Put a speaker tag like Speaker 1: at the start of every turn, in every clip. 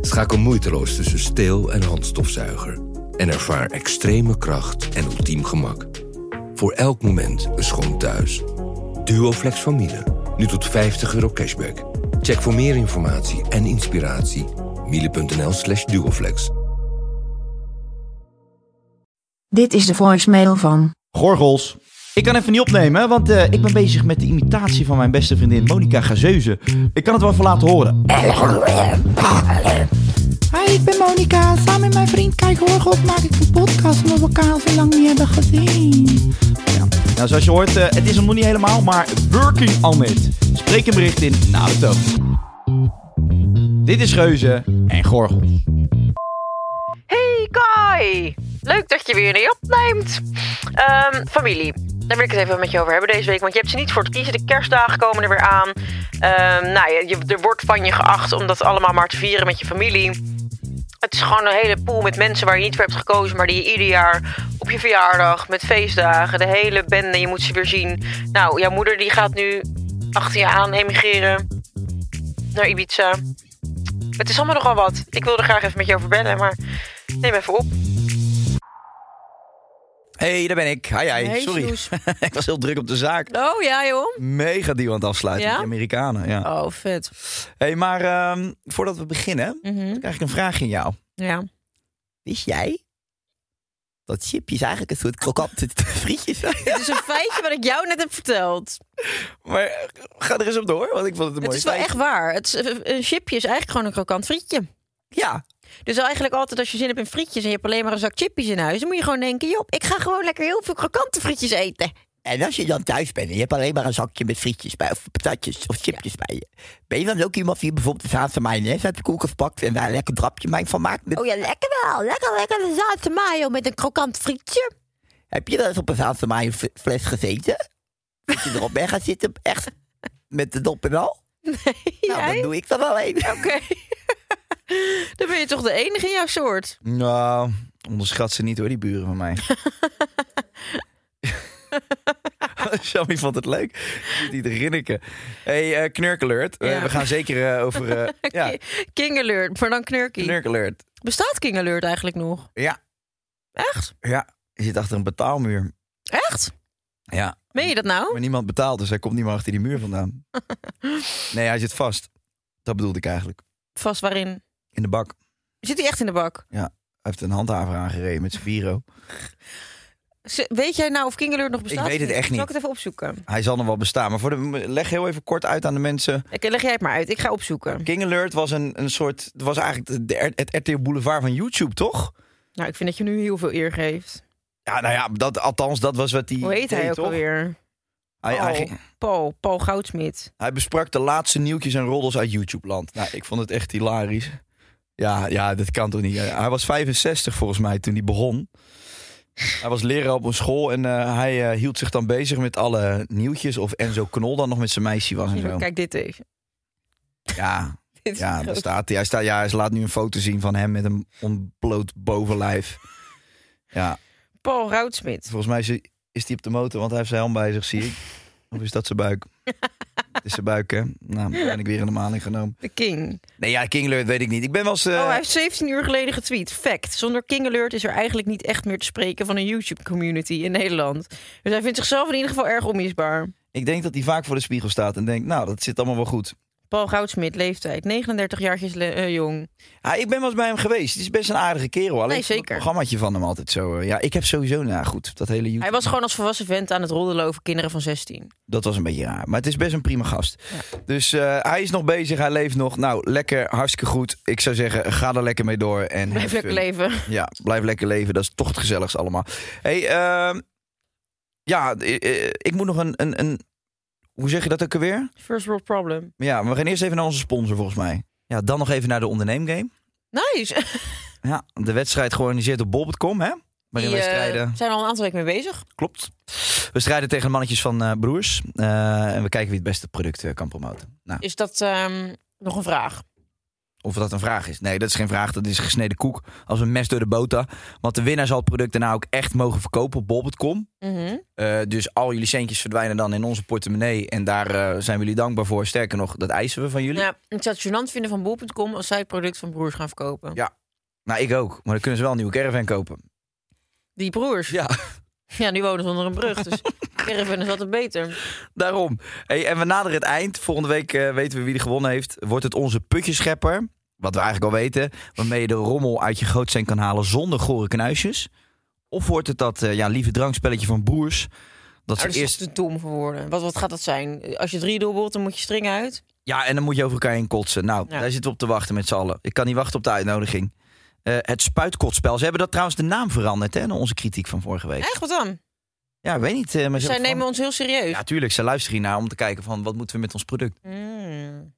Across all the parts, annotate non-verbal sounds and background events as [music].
Speaker 1: Schakel moeiteloos tussen steel- en handstofzuiger en ervaar extreme kracht en ultiem gemak. Voor elk moment een schoon thuis. Duoflex van Miele, nu tot 50 euro cashback. Check voor meer informatie en inspiratie miele.nl slash duoflex.
Speaker 2: Dit is de voicemail van.
Speaker 3: Gorgels. Ik kan even niet opnemen, want eh, ik ben bezig met de imitatie van mijn beste vriendin Monica Gazeuze. Ik kan het wel even laten horen.
Speaker 4: Hi, ik ben Monika. Samen met mijn vriend Kijk Horgels maak ik een podcast omdat we elkaar al zo lang niet hebben gezien.
Speaker 3: Nou, zoals je hoort, eh, het is hem nog niet helemaal, maar working on it. Spreek een bericht in na de toon. Dit is Geuze en Gorgels.
Speaker 5: Hey Kai! Leuk dat je weer een opneemt. Ehm, familie, daar wil ik het even met je over hebben deze week. Want je hebt ze niet voor het kiezen. De kerstdagen komen er weer aan. Ehm, nou, ja, je, er wordt van je geacht om dat allemaal maar te vieren met je familie. Het is gewoon een hele pool met mensen waar je niet voor hebt gekozen, maar die je ieder jaar op je verjaardag, met feestdagen, de hele bende, je moet ze weer zien. Nou, jouw moeder die gaat nu achter je aan emigreren naar Ibiza. Het is allemaal nogal wat. Ik wil er graag even met je over bellen, maar neem even op.
Speaker 6: hey, daar ben ik. Hi, hi.
Speaker 7: Hey,
Speaker 6: Sorry.
Speaker 7: Sjoes.
Speaker 6: [laughs] ik was heel druk op de zaak.
Speaker 7: Oh ja, joh.
Speaker 6: Mega deal aan het afsluiten
Speaker 7: Ja?
Speaker 6: met die Amerikanen. Ja.
Speaker 7: Oh, vet.
Speaker 6: hey, maar ehm, voordat we beginnen,
Speaker 5: Mhm.
Speaker 6: krijg ik een vraag in jou.
Speaker 5: Ja.
Speaker 6: Wist jij dat chipjes eigenlijk een soort krokante [laughs] frietjes zijn?
Speaker 5: Het is een feitje wat ik jou net heb verteld.
Speaker 6: maar eh, ga er eens op door, want ik vond het een mooie
Speaker 5: Het is wel
Speaker 6: tijd.
Speaker 5: echt waar. Het is, eh, een chipje is eigenlijk gewoon een krokant frietje.
Speaker 6: Ja,
Speaker 5: Dus eigenlijk altijd als je zin hebt in frietjes en je hebt alleen maar een zak chipjes in huis, dan moet je gewoon denken, joh, ik ga gewoon lekker heel veel krokante frietjes eten.
Speaker 6: en als je dan thuis bent en je hebt alleen maar een zakje met frietjes bij, of patatjes of chipjes bij je. Ben je dan ook iemand die bijvoorbeeld de zaadse mayonaise uit de koelkast pakt en daar een lekker drapje mijn van maakt? Met-
Speaker 5: Oh ja, lekker wel. Lekker, lekker de zaadse mayo met een krokant frietje.
Speaker 6: Heb je wel eens op een zaadse mayonaise fles gezeten? Dat je erop weg gaat zitten, echt met de dop en
Speaker 5: [laughs]
Speaker 6: al? Nou,
Speaker 5: Jij?
Speaker 6: dat doe ik dan alleen.
Speaker 5: Oké. dan ben je toch de enige in jouw soort.
Speaker 3: Nou, onderschat ze niet hoor, die buren van
Speaker 8: [laughs]
Speaker 3: mij.
Speaker 6: Sammy vond het leuk. Die de rinneken. Hé, hey, eh, knurkalert.
Speaker 5: Ja.
Speaker 6: we gaan zeker eh, over... eh, ja,
Speaker 5: King Alert, maar dan knurkie.
Speaker 6: knurkalert.
Speaker 5: Bestaat King Alert eigenlijk nog?
Speaker 6: Ja,
Speaker 5: Echt?
Speaker 6: ja. Je zit achter een betaalmuur.
Speaker 5: Echt?
Speaker 6: Ja.
Speaker 5: Meen je dat nou?
Speaker 6: Maar niemand betaalt, dus hij komt niet meer achter die muur
Speaker 5: [laughs]
Speaker 6: vandaan. nee, hij zit vast. Dat bedoelde ik eigenlijk.
Speaker 5: Vast waarin?
Speaker 6: In de bak. Hij
Speaker 5: Zit hij echt in de bak?
Speaker 6: heeft een handhaver aangereden met zijn bureau.
Speaker 5: Z- Weet jij nou of King Alert nog bestaat?
Speaker 6: Ik weet het
Speaker 5: of
Speaker 6: echt niet.
Speaker 5: Zal ik het even opzoeken?
Speaker 6: Hij zal nog wel bestaan. Maar voor de, leg heel even kort uit aan de mensen.
Speaker 5: Oké, leg jij het maar uit. Ik ga opzoeken.
Speaker 6: King Alert was een, een soort... Het was eigenlijk de, R- het RTL Boulevard van YouTube, toch?
Speaker 5: Nou, ik vind dat je nu heel veel eer geeft.
Speaker 6: Ja, nou ja, dat, althans, dat was wat hij
Speaker 5: Hoe heet hij
Speaker 6: deed,
Speaker 5: ook
Speaker 6: toch?
Speaker 5: alweer?
Speaker 6: Hij, hij,
Speaker 5: Oh.
Speaker 6: ging-
Speaker 5: Paul. Paul Goudsmit.
Speaker 6: hij besprak de laatste nieuwtjes en roddels uit YouTube-land. Nou, ik vond het echt hilarisch. Ja, ja, dat kan toch niet. Hij was 65 volgens mij toen hij begon. Hij was leraar op een school en eh, hij eh, hield zich dan bezig met alle nieuwtjes. Of Enzo Knol dan nog met zijn meisje was en zo.
Speaker 5: Kijk dit even.
Speaker 6: Ja,
Speaker 5: [laughs] Dit is
Speaker 6: ja, daar
Speaker 5: groot.
Speaker 6: staat hij. Hij, staat, ja, hij laat nu een foto zien van hem met een ontbloot bovenlijf. Ja,
Speaker 5: Paul Goudsmit.
Speaker 6: volgens mij is hij- is hij op de motor, want hij heeft zijn helm bij zich, zie ik. Of is dat zijn
Speaker 5: [laughs]
Speaker 6: buik? Het is zijn buik, hè? Nou, ben ik weer in de maling genomen.
Speaker 5: De King.
Speaker 6: Nee, ja, King Alert weet ik niet. Ik ben wel eens... eh,
Speaker 5: Oh, hij heeft 17 uur geleden getweet. Fact. Zonder King Alert is er eigenlijk niet echt meer te spreken van een YouTube-community in Nederland. Dus hij vindt zichzelf in ieder geval erg onmisbaar.
Speaker 6: Ik denk dat hij vaak voor de spiegel staat en denkt... Nou, dat zit allemaal wel goed.
Speaker 5: Paul Goudsmit, leeftijd. 39 jaartjes le- eh, jong.
Speaker 6: Ja, ik ben wel eens bij hem geweest. Het is best een aardige kerel. Alleen
Speaker 5: Nee,
Speaker 6: ik vond
Speaker 5: zeker.
Speaker 6: Het programmaatje van hem altijd zo. eh, ja, ik heb sowieso, nou goed, dat hele YouTube.
Speaker 5: Hij was gewoon als volwassen vent aan het roddelen over kinderen van 16.
Speaker 6: Dat was een beetje raar. Maar het is best een prima gast. Dus eh, hij is nog bezig. Hij leeft nog. Nou, lekker. Hartstikke goed. Ik zou zeggen, ga er lekker mee door. En
Speaker 5: Blijf
Speaker 6: have
Speaker 5: lekker
Speaker 6: fun.
Speaker 5: leven. [laughs]
Speaker 6: Ja, blijf lekker leven. Dat is toch het gezelligst allemaal. hey, ehm, ja, eh, eh, ik moet nog een, een, een... Hoe zeg je dat ook alweer?
Speaker 5: First world problem.
Speaker 6: Ja, maar we gaan eerst even naar onze sponsor volgens mij. Ja, dan nog even naar de onderneemgame.
Speaker 5: Nice.
Speaker 6: Ja, de wedstrijd georganiseerd op bol.com, hè? Waarin
Speaker 5: Die,
Speaker 6: wij
Speaker 5: eh,
Speaker 6: strijden.
Speaker 5: zijn al een aantal weken mee bezig.
Speaker 6: Klopt. We strijden tegen de mannetjes van eh, Broers. Eh, en we kijken wie het beste product eh, kan promoten. Nou,
Speaker 5: Is dat ehm, nog een vraag?
Speaker 6: of dat een vraag is. Nee, dat is geen vraag. Dat is gesneden koek. Als een mes door de boter. Want de winnaar zal het product daarna ook echt mogen verkopen op bol.com.
Speaker 5: Mhm.
Speaker 6: Eh, dus al jullie centjes verdwijnen dan in onze portemonnee. En daar eh, zijn we jullie dankbaar voor. Sterker nog, dat eisen we van jullie.
Speaker 5: Ja, ik zou het gênant vinden van bol.com als zij het product van broers gaan verkopen.
Speaker 6: Ja. Nou, ik ook. Maar dan kunnen ze wel een nieuwe caravan kopen.
Speaker 5: Die broers.
Speaker 6: Ja,
Speaker 5: [laughs] Ja, nu wonen ze onder een
Speaker 6: [laughs]
Speaker 5: brug, dus caravan is altijd beter.
Speaker 6: daarom. Hey, en we naderen het eind. Volgende week eh, weten we wie er gewonnen heeft. Wordt het onze putjeschepper? Wat we eigenlijk al weten. Waarmee je de rommel uit je grootsteen kan halen zonder gore knuisjes. Of wordt het dat eh, ja, lieve drankspelletje van Boers? Dat
Speaker 5: Nou, Dat
Speaker 6: ze
Speaker 5: is
Speaker 6: eerst...
Speaker 5: eerst... te dom voor woorden. Wat, wat gaat dat zijn? Als je drie doelbolt, dan moet je string uit.
Speaker 6: Ja, en dan moet je over elkaar heen kotsen. Nou,
Speaker 5: Ja.
Speaker 6: daar zitten we op te wachten met z'n allen. Ik kan niet wachten op de uitnodiging. Eh, het spuitkotspel. Ze hebben dat trouwens de naam veranderd, hè? Naar onze kritiek van vorige week.
Speaker 5: Echt, wat dan?
Speaker 6: Ja, ik weet niet. eh, maar ze
Speaker 5: Zij
Speaker 6: hebben
Speaker 5: nemen
Speaker 6: gewoon-
Speaker 5: ons heel serieus.
Speaker 6: Ja, tuurlijk. Ze luisteren hiernaar om te kijken van wat moeten we met ons product.
Speaker 5: Mm.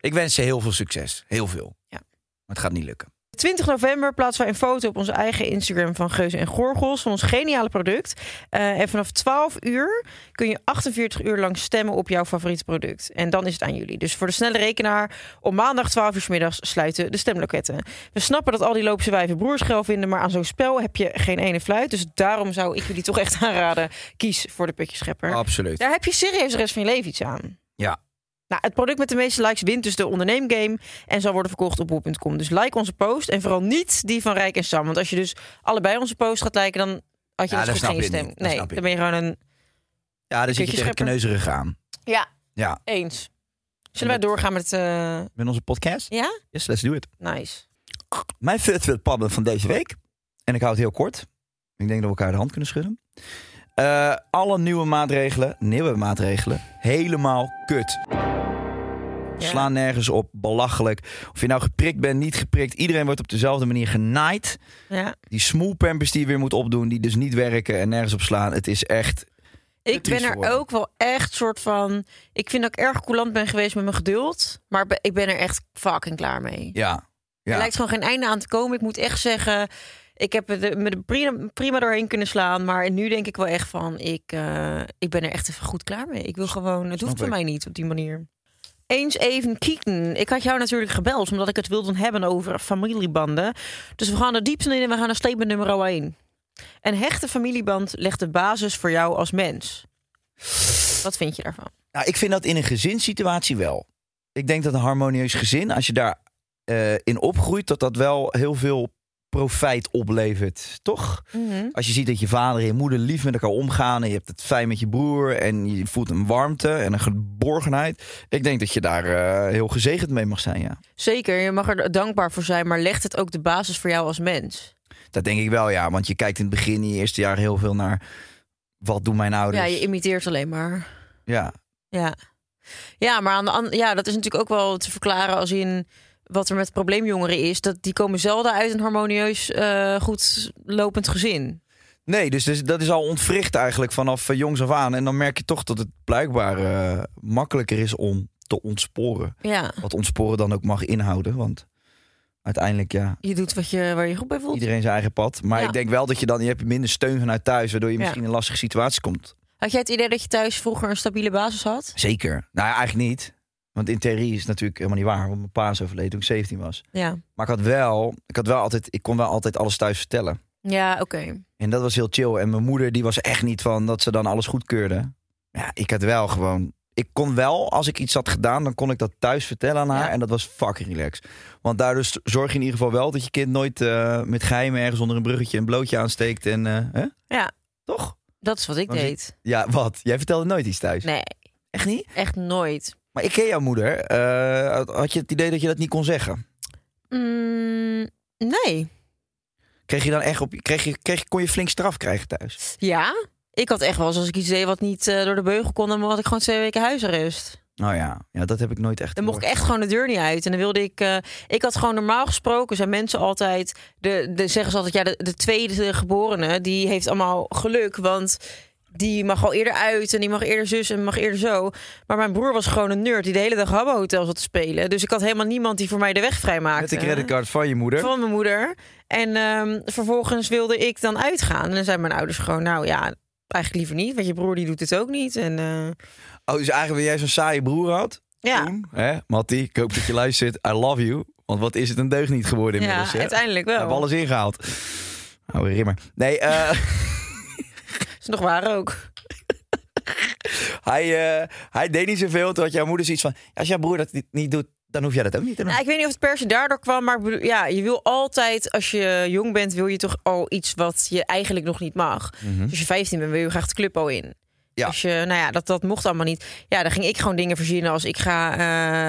Speaker 6: Ik wens ze heel veel succes. Heel veel.
Speaker 5: Ja.
Speaker 6: Maar het gaat niet lukken.
Speaker 5: 20 november plaatsen wij een foto op onze eigen Instagram van Geuze en Gorgels van ons geniale product. Eh, en vanaf 12 uur kun je 48 uur lang stemmen op jouw favoriet product. En dan is het aan jullie. Dus voor de snelle rekenaar, om maandag 12 uur 's middags sluiten de stemloketten. We snappen dat al die loopse wijven broers geil vinden, maar aan zo'n spel heb je geen ene fluit. Dus daarom zou ik jullie toch echt [laughs] aanraden, kies voor de putjeschepper.
Speaker 6: Absoluut.
Speaker 5: Daar heb je serieus de rest van je leven iets aan.
Speaker 6: Ja.
Speaker 5: Nou, het product met de meeste likes wint dus de onderneemgame en zal worden verkocht op bol.com. Dus like onze post en vooral niet die van Rijk en Sam. Want als je dus allebei onze post gaat liken, dan had je
Speaker 6: Ja,
Speaker 5: dus
Speaker 6: dat
Speaker 5: goed
Speaker 6: snap
Speaker 5: geen
Speaker 6: je
Speaker 5: stem.
Speaker 6: niet. Dat
Speaker 5: Nee,
Speaker 6: snap
Speaker 5: dan
Speaker 6: je
Speaker 5: ben je gewoon een...
Speaker 6: Ja, daar zit je tegen
Speaker 5: Putjeschepper.
Speaker 6: kneuzerig aan.
Speaker 5: Ja,
Speaker 6: Ja.
Speaker 5: eens. Zullen wij
Speaker 6: dat-
Speaker 5: doorgaan met... eh,
Speaker 6: Met onze podcast?
Speaker 5: Ja?
Speaker 6: Yes, let's do it.
Speaker 5: Nice.
Speaker 6: Mijn first world problem van deze week. En ik hou het heel kort. Ik denk dat we elkaar de hand kunnen schudden. Eh, alle nieuwe maatregelen, nieuwe maatregelen, helemaal kut.
Speaker 5: Ja.
Speaker 6: Slaan nergens op, belachelijk. Of je nou geprikt bent, niet geprikt. Iedereen wordt op dezelfde manier genaaid.
Speaker 5: Ja.
Speaker 6: Die smoelpampers die je weer moet opdoen, die dus niet werken en nergens op slaan. Het is echt...
Speaker 5: Ik
Speaker 6: triest
Speaker 5: ben er
Speaker 6: geworden.
Speaker 5: ook wel echt soort van... Ik vind dat ik erg coulant ben geweest met mijn geduld. Maar be- ik ben er echt fucking klaar mee.
Speaker 6: Ja.
Speaker 5: Er
Speaker 6: ja.
Speaker 5: lijkt gewoon geen einde aan te komen. Ik moet echt zeggen, ik heb het, eh, me er prima, prima doorheen kunnen slaan. Maar nu denk ik wel echt van, ik, eh, ik ben er echt even goed klaar mee. Ik wil gewoon, het hoeft
Speaker 6: Snap
Speaker 5: voor
Speaker 6: ik.
Speaker 5: mij niet op die manier. Eens even kieken. Ik had jou natuurlijk gebeld, omdat ik het wilde hebben over familiebanden. Dus we gaan de diepte in en we gaan naar statement nummer 1. Een hechte familieband legt de basis voor jou als mens. Wat vind je daarvan?
Speaker 6: Nou, ik vind dat in een gezinssituatie wel. Ik denk dat een harmonieus gezin, als je daar eh, in opgroeit, dat dat wel heel veel profijt oplevert, toch? Als je ziet dat je vader en je moeder lief met elkaar omgaan... en je hebt het fijn met je broer en je voelt een warmte en een geborgenheid... ik denk dat je daar eh, heel gezegend mee mag zijn, ja.
Speaker 5: Zeker, je mag er dankbaar voor zijn, maar legt het ook de basis voor jou als mens?
Speaker 6: Dat denk ik wel, ja. Want je kijkt in het begin, in je eerste jaar, heel veel naar... wat doen mijn ouders?
Speaker 5: Ja, je imiteert alleen maar.
Speaker 6: ja.
Speaker 5: Ja, ja maar aan de an- ja, dat is natuurlijk ook wel te verklaren als in wat er met probleemjongeren is. Dat die komen zelden uit een harmonieus, eh, goed lopend gezin.
Speaker 6: Nee, dus, dus dat is al ontwricht eigenlijk vanaf eh, jongs af aan. En dan merk je toch dat het blijkbaar eh, makkelijker is om te ontsporen.
Speaker 5: Ja,
Speaker 6: Wat ontsporen dan ook mag inhouden, want uiteindelijk, ja...
Speaker 5: je doet wat je, waar je goed bij voelt.
Speaker 6: Iedereen zijn eigen pad. Maar
Speaker 5: Ja.
Speaker 6: ik denk wel dat je dan je hebt minder steun vanuit thuis, waardoor je
Speaker 5: Ja.
Speaker 6: misschien in een lastige situatie komt.
Speaker 5: Had jij het idee dat je thuis vroeger een stabiele basis had?
Speaker 6: Zeker. Nou ja, eigenlijk niet. Want in theorie is het natuurlijk helemaal niet waar. Want mijn pa is overleden toen ik 17 was.
Speaker 5: Ja,
Speaker 6: Maar ik had wel, ik had wel altijd, ik kon wel altijd alles thuis vertellen.
Speaker 5: ja oké.
Speaker 6: En dat was heel chill. En mijn moeder, die was echt niet van dat ze dan alles goedkeurde. Ja, ik had wel gewoon. Ik kon wel, als ik iets had gedaan, dan kon ik dat thuis vertellen aan haar.
Speaker 5: Ja.
Speaker 6: En dat was fucking relaxed. Want daardoor st- zorg je in ieder geval wel dat je kind nooit eh, met geheimen ergens onder een bruggetje een blootje aansteekt. En, eh, hè?
Speaker 5: Ja.
Speaker 6: Toch?
Speaker 5: Dat is wat ik
Speaker 6: Dan zie-
Speaker 5: deed.
Speaker 6: Ja, wat? Jij vertelde nooit iets thuis?
Speaker 5: Nee,
Speaker 6: Echt niet?
Speaker 5: echt nooit.
Speaker 6: Maar ik ken jouw moeder. Eh, had- had je het idee dat je dat niet kon zeggen?
Speaker 5: Mm, nee.
Speaker 6: Kreeg je dan echt op... Kreeg je, kreeg, kon je flink straf krijgen thuis?
Speaker 5: Ja, ik had echt wel eens als ik iets deed wat niet eh, door de beugel kon, dan had ik gewoon twee weken huisarrest.
Speaker 6: Nou ja, ja dat heb ik nooit echt
Speaker 5: Dan mocht ik
Speaker 6: gehoord.
Speaker 5: echt gewoon de deur niet uit. En dan wilde ik, eh, ik had gewoon normaal gesproken, zijn mensen altijd, de, de, zeggen ze altijd, ja, de, de tweede geborene, die heeft allemaal geluk, want die mag al eerder uit en die mag eerder zus en mag eerder zo. Maar mijn broer was gewoon een nerd die de hele dag Habbo Hotel zat te spelen. Dus ik had helemaal niemand die voor mij de weg vrijmaakte.
Speaker 6: Met de creditcard van je moeder.
Speaker 5: Van mijn moeder. En ehm, vervolgens wilde ik dan uitgaan. En dan zeiden mijn ouders gewoon, nou ja, eigenlijk liever niet. Want je broer die doet het ook niet. En eh,
Speaker 6: Oh, dus eigenlijk dat jij zo'n saaie broer had?
Speaker 5: ja,
Speaker 6: Toen, hè? Mattie, ik hoop dat je luistert. I love you. Want wat is het een deugniet geworden
Speaker 5: ja
Speaker 6: inmiddels, hè?
Speaker 5: uiteindelijk
Speaker 6: We
Speaker 5: wel.
Speaker 6: hebben alles ingehaald. Oude rimmer. Nee, eh...
Speaker 5: [laughs] is nog waar ook.
Speaker 6: Hij, eh, hij deed niet zoveel. Toen had jouw moeder zoiets van... Als jouw broer dat niet- niet doet, dan hoef jij dat ook niet te doen.
Speaker 5: Nou, ik weet niet of het per se daardoor kwam. Maar ik bedoel, ja, je wil altijd, als je jong bent, wil je toch al iets wat je eigenlijk nog niet mag.
Speaker 6: Mhm.
Speaker 5: Dus als je 15 bent, wil je graag de club al in.
Speaker 6: Ja.
Speaker 5: Als je, nou ja, dat, dat mocht allemaal niet. Ja, dan ging ik gewoon dingen verzinnen als ik ga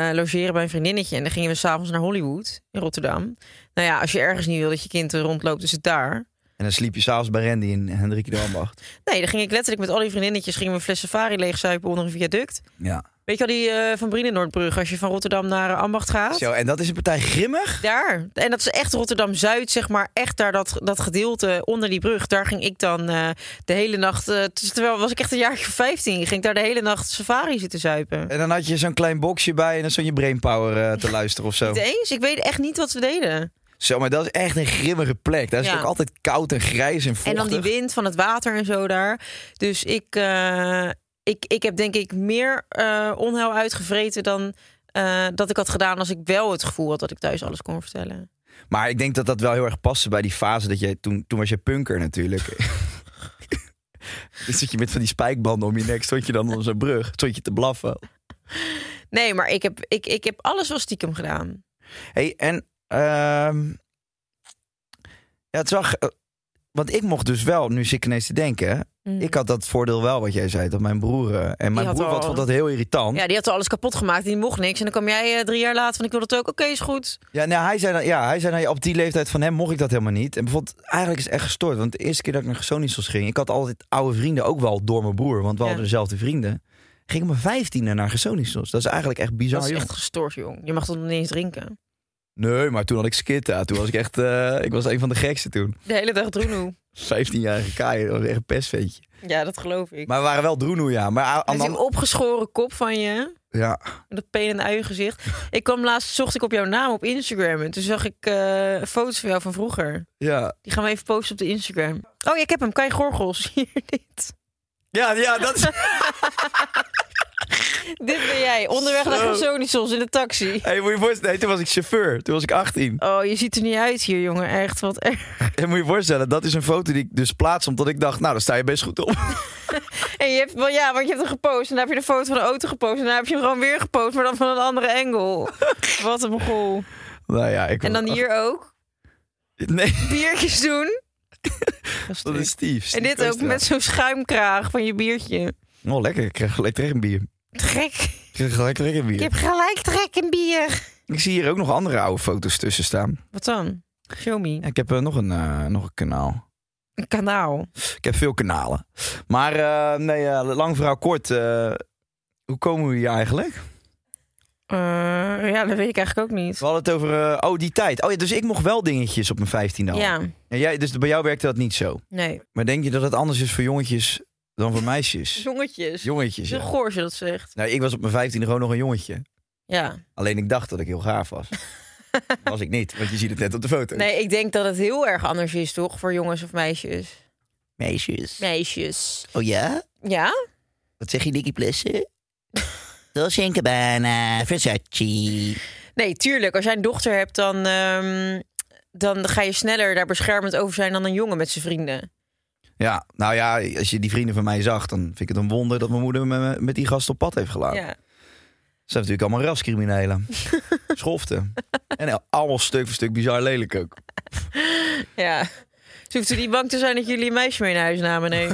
Speaker 5: eh, logeren bij een vriendinnetje. En dan gingen we s'avonds naar Hollywood in Rotterdam. Nou ja, als je ergens niet wil dat je kind rondloopt, is het daar.
Speaker 6: En dan sliep je s'avonds bij Randy in Hendrikje de Ambacht.
Speaker 5: Nee, dan ging ik letterlijk met al die vriendinnetjes gingen we een fles safari leegzuipen onder een viaduct.
Speaker 6: Ja.
Speaker 5: Weet je al die eh, van Brienenoordbrug, als je van Rotterdam naar eh, Ambacht gaat?
Speaker 6: Zo, Oh, en dat is een partij grimmig.
Speaker 5: Daar. En dat is echt Rotterdam-Zuid, zeg maar. Echt daar dat, dat gedeelte onder die brug. Daar ging ik dan eh, de hele nacht... eh, t- terwijl was ik echt een jaartje of 15. Ging ik daar de hele nacht safari zitten zuipen.
Speaker 6: En dan had je zo'n klein boxje bij en dan stond je brainpower eh,
Speaker 5: [laughs]
Speaker 6: te luisteren of zo.
Speaker 5: Niet eens. Ik weet echt niet wat we deden.
Speaker 6: Zo, maar dat is echt een grimmige plek. Daar is het
Speaker 5: Ja.
Speaker 6: ook altijd koud en grijs en
Speaker 5: En
Speaker 6: vochtig.
Speaker 5: dan die wind van het water en zo daar. Dus ik, eh, ik, ik heb denk ik meer eh, onheil uitgevreten dan... eh, dat ik had gedaan als ik wel het gevoel had dat ik thuis alles kon vertellen.
Speaker 6: Maar ik denk dat dat wel heel erg paste bij die fase dat je toen, toen was je punker natuurlijk. [laughs] Dan zit je met van die spijkbanden om je nek, stond je dan onder zo'n brug, stond je te blaffen.
Speaker 5: Nee, maar ik heb, ik, ik heb alles wel stiekem gedaan.
Speaker 6: hey, en ehm, ja, het zag, want ik mocht dus wel, nu zit ik ineens te denken,
Speaker 5: Mm.
Speaker 6: ik had dat voordeel wel wat jij zei, dat mijn broer eh, en mijn
Speaker 5: had
Speaker 6: broer
Speaker 5: al-
Speaker 6: wat vond dat heel irritant.
Speaker 5: Ja, die had alles kapot gemaakt. Die mocht niks. En dan kwam jij eh, drie jaar later van ik wil dat ook. Oké, is goed.
Speaker 6: Ja, nou, hij zei, dan, ja, hij zei dan, ja, op die leeftijd van hem mocht ik dat helemaal niet. En bijvoorbeeld, eigenlijk is het echt gestoord. Want de eerste keer dat ik naar Gesonisels ging, ik had altijd oude vrienden ook wel door mijn broer. Want we
Speaker 5: Ja.
Speaker 6: hadden dezelfde vrienden. Ging ik om mijn vijftiende naar Gesonisels. Dat is eigenlijk echt bizar,
Speaker 5: dat is
Speaker 6: jong.
Speaker 5: echt gestoord, jong. Je mag dat nog niet eens drinken.
Speaker 6: Nee, maar toen had ik skitta. Toen was ik echt, eh, ik was een van de gekste toen.
Speaker 5: De hele dag droenoe.
Speaker 6: 15-jarige Kai, dat was echt een pestventje.
Speaker 5: Ja, dat geloof ik.
Speaker 6: Maar we waren wel droenoe, ja. Maar aan- aan
Speaker 5: Met die opgeschoren kop van je.
Speaker 6: ja.
Speaker 5: Met dat pen en
Speaker 6: [laughs]
Speaker 5: ui gezicht. ik kwam laatst, zocht ik op jouw naam op Instagram. En toen zag ik eh, foto's van jou van vroeger.
Speaker 6: Ja.
Speaker 5: Die gaan we even posten op de Instagram. Oh, ja, ik heb hem. Kai Gorgels. [laughs] Hier, dit.
Speaker 6: Ja, ja, dat [laughs] is...
Speaker 5: Dit ben jij. Onderweg naar
Speaker 6: Zo.
Speaker 5: Gersonisos in de taxi.
Speaker 6: Hey, moet je voorstellen, nee, toen was ik chauffeur. Toen was ik 18.
Speaker 5: Oh, je ziet er niet uit hier, jongen. Echt, wat erg.
Speaker 6: En moet je voorstellen, dat is een foto die ik dus plaats omdat ik dacht, nou, daar sta je best goed op. [laughs]
Speaker 5: En je hebt wel ja, want je hebt hem gepost. En dan heb je de foto van de auto gepost. En dan heb je hem gewoon weer gepost, maar dan van een andere angle.
Speaker 6: [laughs]
Speaker 5: Wat een goal.
Speaker 6: Nou ja, ik
Speaker 5: En dan hier ook.
Speaker 6: Nee,
Speaker 5: Biertjes doen.
Speaker 6: [laughs] dat is Steve.
Speaker 5: En dit ook met zo'n schuimkraag van je biertje.
Speaker 6: Oh, lekker. Ik krijg gelijk trek een bier.
Speaker 5: Trek.
Speaker 6: Ik krijg gelijk trek een bier.
Speaker 5: Ik
Speaker 6: Ik,
Speaker 5: heb gelijk trek in bier.
Speaker 6: zie hier ook nog andere oude foto's tussen staan.
Speaker 5: Wat dan? Show me.
Speaker 6: Ja, ik heb eh, nog, een, eh, nog een kanaal.
Speaker 5: Een kanaal.
Speaker 6: Ik heb veel kanalen. Maar eh, nee, eh, lang verhaal kort. eh, hoe komen we hier eigenlijk?
Speaker 5: Eh, ja, dat weet ik eigenlijk ook niet.
Speaker 6: We hadden het over... eh, oh, die tijd. Oh ja, dus ik mocht wel dingetjes op mijn vijftiende al.
Speaker 5: Ja,
Speaker 6: En jij, dus bij jou werkte dat niet zo.
Speaker 5: nee.
Speaker 6: Maar denk je dat het anders is voor jongetjes dan voor
Speaker 5: [laughs]
Speaker 6: meisjes?
Speaker 5: Jongetjes.
Speaker 6: Jongetjes,
Speaker 5: Zo
Speaker 6: ja.
Speaker 5: goor als je dat zegt.
Speaker 6: Nou, ik was op mijn vijftiende gewoon nog een jongetje.
Speaker 5: Ja.
Speaker 6: Alleen ik dacht dat ik heel gaaf
Speaker 5: [laughs]
Speaker 6: was. was ik niet, want je ziet het net op de foto.
Speaker 5: Nee, ik denk dat het heel erg anders is, toch? Voor jongens of meisjes.
Speaker 6: Meisjes.
Speaker 5: Meisjes.
Speaker 6: Oh ja?
Speaker 5: Ja?
Speaker 6: Wat zeg je, Nicky [laughs] Plessen? Dolce Gabbana, Versace.
Speaker 5: Nee, tuurlijk. Als jij een dochter hebt, dan, ehm, dan ga je sneller daar beschermend over zijn dan een jongen met zijn vrienden.
Speaker 6: Ja, nou ja, als je die vrienden van mij zag, dan vind ik het een wonder dat mijn moeder me met die gast op pad heeft gelaten.
Speaker 5: Ja.
Speaker 6: Ze zijn natuurlijk allemaal rascriminelen. Schoften. En allemaal stuk voor stuk bizar lelijk ook.
Speaker 5: ja. Ze hoeft er niet bang te zijn dat jullie een meisje mee naar huis namen. Nee.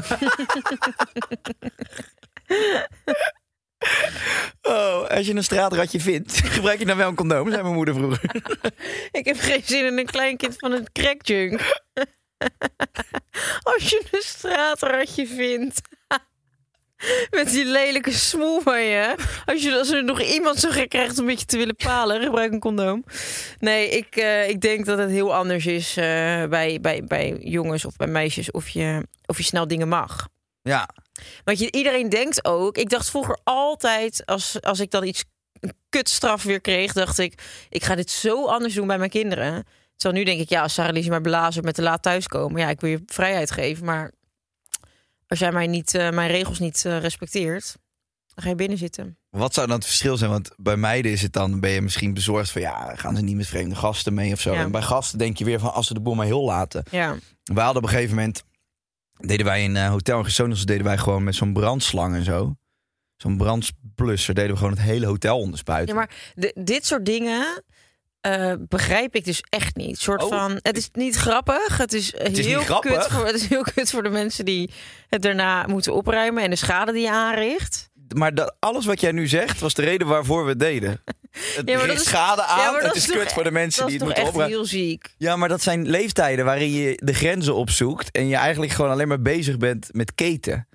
Speaker 6: Oh, als je een straatratje vindt, [laughs] gebruik je dan wel een condoom, zei mijn moeder vroeger.
Speaker 5: Ik heb geen zin in een kleinkind van een crackjunk. [laughs] Als je een straatratje vindt. [laughs] Met die lelijke smoel van je. Als, je, als er nog iemand zo gek krijgt om een beetje [laughs] te willen palen, gebruik een condoom. Nee, ik, eh, ik denk dat het heel anders is eh, bij, bij, bij jongens of bij meisjes of je, of je snel dingen mag.
Speaker 6: Ja,
Speaker 5: Want je, iedereen denkt ook. Ik dacht vroeger altijd, als, als ik dan iets een kutstraf weer kreeg, dacht ik, ik ga dit zo anders doen bij mijn kinderen. Terwijl nu denk ik, ja, als Sarah Lise maar blazen met te laat thuiskomen, ja, ik wil je vrijheid geven, maar als jij mij niet, eh, mijn regels niet eh, respecteert, dan ga je binnen zitten.
Speaker 6: Wat zou dan het verschil zijn? Want bij meiden is het dan, ben je misschien bezorgd van ja, gaan ze niet met vreemde gasten mee of zo.
Speaker 5: Ja.
Speaker 6: En bij gasten denk je weer van als ze de boel maar heel laten.
Speaker 5: Ja,
Speaker 6: Wij hadden op een gegeven moment, deden wij in eh, Hotel en Gezonis, deden wij gewoon met zo'n brandslang en zo. Zo'n brandblusser deden we gewoon het hele hotel onderspuiten.
Speaker 5: ja maar de- dit soort dingen. eh, begrijp ik dus echt niet. Soort
Speaker 6: Oh.
Speaker 5: van, het is niet grappig. Het is,
Speaker 6: is
Speaker 5: heel
Speaker 6: niet grappig.
Speaker 5: Kut voor, het is heel kut voor de mensen die het daarna moeten opruimen en de schade die je aanricht.
Speaker 6: Maar dat, alles wat jij nu zegt was de reden waarvoor we het
Speaker 5: [laughs]
Speaker 6: deden. Het
Speaker 5: Ja, maar
Speaker 6: richt
Speaker 5: dat is-
Speaker 6: schade aan,
Speaker 5: Ja, maar
Speaker 6: het
Speaker 5: dat
Speaker 6: is
Speaker 5: toch
Speaker 6: kut voor de
Speaker 5: e-
Speaker 6: mensen
Speaker 5: dat
Speaker 6: die
Speaker 5: is
Speaker 6: het
Speaker 5: toch
Speaker 6: moeten
Speaker 5: echt
Speaker 6: opruimen.
Speaker 5: heel ziek.
Speaker 6: Ja, maar dat zijn leeftijden waarin je de grenzen opzoekt en je eigenlijk gewoon alleen maar bezig bent met keten.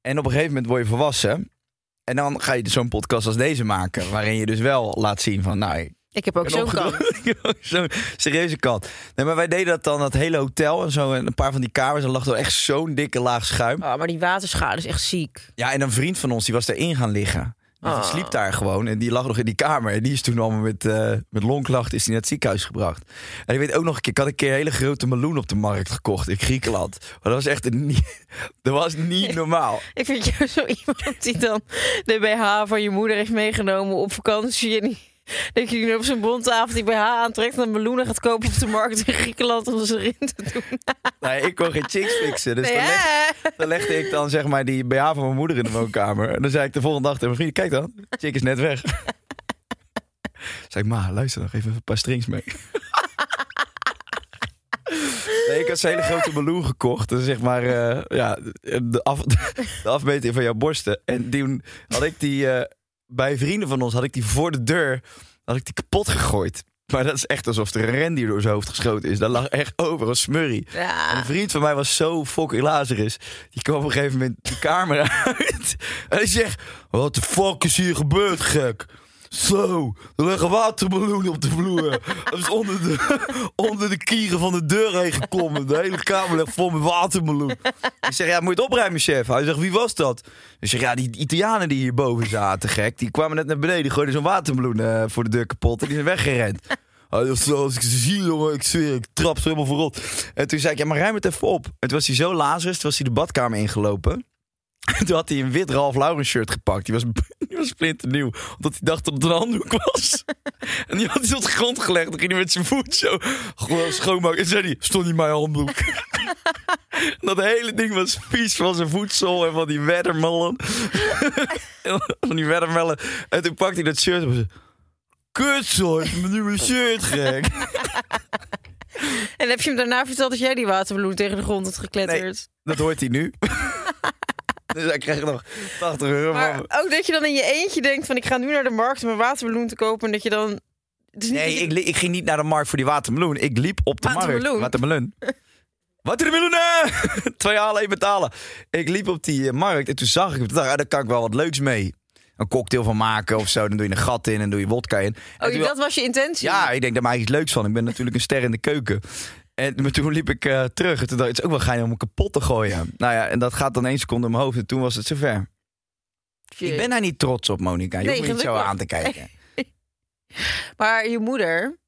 Speaker 6: En op een gegeven moment word je volwassen. En dan ga je zo'n podcast als deze maken, waarin je dus wel laat zien van, nou, ik
Speaker 5: Ik heb ook
Speaker 6: ben
Speaker 5: zo'n
Speaker 6: opgegroeid.
Speaker 5: kant.
Speaker 6: Ik heb ook [laughs] zo'n serieuze kant. Nee, maar wij deden dat dan, dat hele hotel en zo, en een paar van die kamers, en lag er echt zo'n dikke laag schuim.
Speaker 5: Oh, maar die waterschade is echt ziek.
Speaker 6: Ja, en een vriend van ons, die was daarin gaan liggen. Die
Speaker 5: Ah.
Speaker 6: sliep daar gewoon en die lag nog in die kamer. En die is toen allemaal met, eh met longklachten is die naar het ziekenhuis gebracht. En ik weet ook nog een keer, ik had een keer een hele grote meloen op de markt gekocht in Griekenland. Maar dat was echt een niet, [laughs] dat was niet normaal.
Speaker 5: Ik vind jou zo iemand die dan de BH van je moeder heeft meegenomen op vakantie. En die, dat je die nu op zijn bondtafel die BH aantrekt en dan meloenen gaat kopen op de markt in Griekenland om ze erin te doen.
Speaker 6: Nee, ik kon geen chicks fixen. Dus
Speaker 5: Nee,
Speaker 6: dan, leg-
Speaker 5: hè?
Speaker 6: [laughs] dan legde ik dan zeg maar die BH van mijn moeder in de woonkamer. En dan zei ik de volgende dag tegen mijn vriend, kijk dan, chick is net weg. [laughs] Zei ik, ma, luister dan, geef even een paar strings mee. [laughs] Nee, ik had zo'n hele grote meloen gekocht. Dus zeg maar, eh, ja, de, af, de afmeting van jouw borsten. En toen had ik die, eh, bij vrienden van ons had ik die voor de deur, had ik die kapot gegooid. Maar dat is echt alsof er een rendier door zijn hoofd geschoten is. Dat lag echt over als smurrie. En een
Speaker 5: Ja.
Speaker 6: vriend van mij was zo fucking Lazarus. Die kwam op een gegeven moment de kamer uit. En hij zegt: Wat de fuck is hier gebeurd, gek? Zo, er liggen watermeloenen op de vloer. Dat is onder de, onder de kieren van de deur heen geklommen. De hele kamer ligt vol met watermeloen. Ik zeg, ja, moet je het opruimen, chef? Hij zegt, wie was dat? Ik zeg, ja, die Italianen die hierboven zaten, gek. Die kwamen net naar beneden, die gooiden zo'n watermeloen eh, voor de deur kapot. En die zijn weggerend. Hij dacht, zo, als ik ze zie, jongen, ik zweer, ik trap ze helemaal verrot. En toen zei ik, ja, maar ruim het even op. En toen was hij zo lazerus, toen was hij de badkamer ingelopen. [laughs] En toen had hij een wit Ralph Lauren shirt gepakt. Die was, [laughs] die was splinternieuw, omdat hij dacht dat het een handdoek was. [laughs] en die had hij op de grond gelegd. Dan ging hij met zijn voet zo gewoon schoonmaken. En zei hij, stond niet mijn handdoek. [laughs] Dat hele ding was vies van zijn voedsel en van die [laughs] watermelon. van die watermelon. En toen pakte hij dat shirt op en zei... Kut, zo, is mijn nieuwe shirt, gek.
Speaker 5: En heb je hem daarna verteld dat jij die watermeloen tegen de grond had gekletterd?
Speaker 6: Dat hoort hij nu. dus hij krijgt nog 80 euro
Speaker 5: Maar
Speaker 6: van me.
Speaker 5: ook dat je dan in je eentje denkt van ik ga nu naar de markt om een watermeloen te kopen. En dat je dan... Het is niet dat
Speaker 6: Nee,
Speaker 5: je-
Speaker 6: ik, li- ik ging niet naar de markt voor die watermeloen. Ik liep op de markt.
Speaker 5: Watermeloen?
Speaker 6: Watermeloen. Watermeloenen! [laughs] Twee halen, één betalen. Ik liep op die eh, markt en toen zag ik hem. Toen dacht ik, ah, daar kan ik wel wat leuks mee. Een cocktail van maken of zo. Dan doe je een gat in en doe je wodka in. En
Speaker 5: Oh,
Speaker 6: toen-
Speaker 5: dat was je intentie?
Speaker 6: Ja, ik denk, daar maak ik iets leuks van. Ik ben natuurlijk een ster in de keuken. En maar toen liep ik eh, terug en toen dacht ik, het is ook wel geinig om hem kapot te gooien. Nou ja, en dat gaat dan één seconde in mijn hoofd en toen was het zover. Ik ben daar niet trots op, Monica. Je
Speaker 5: Nee,
Speaker 6: hoeft me niet zo
Speaker 5: gelukkig.
Speaker 6: aan te kijken.
Speaker 5: Maar je moeder,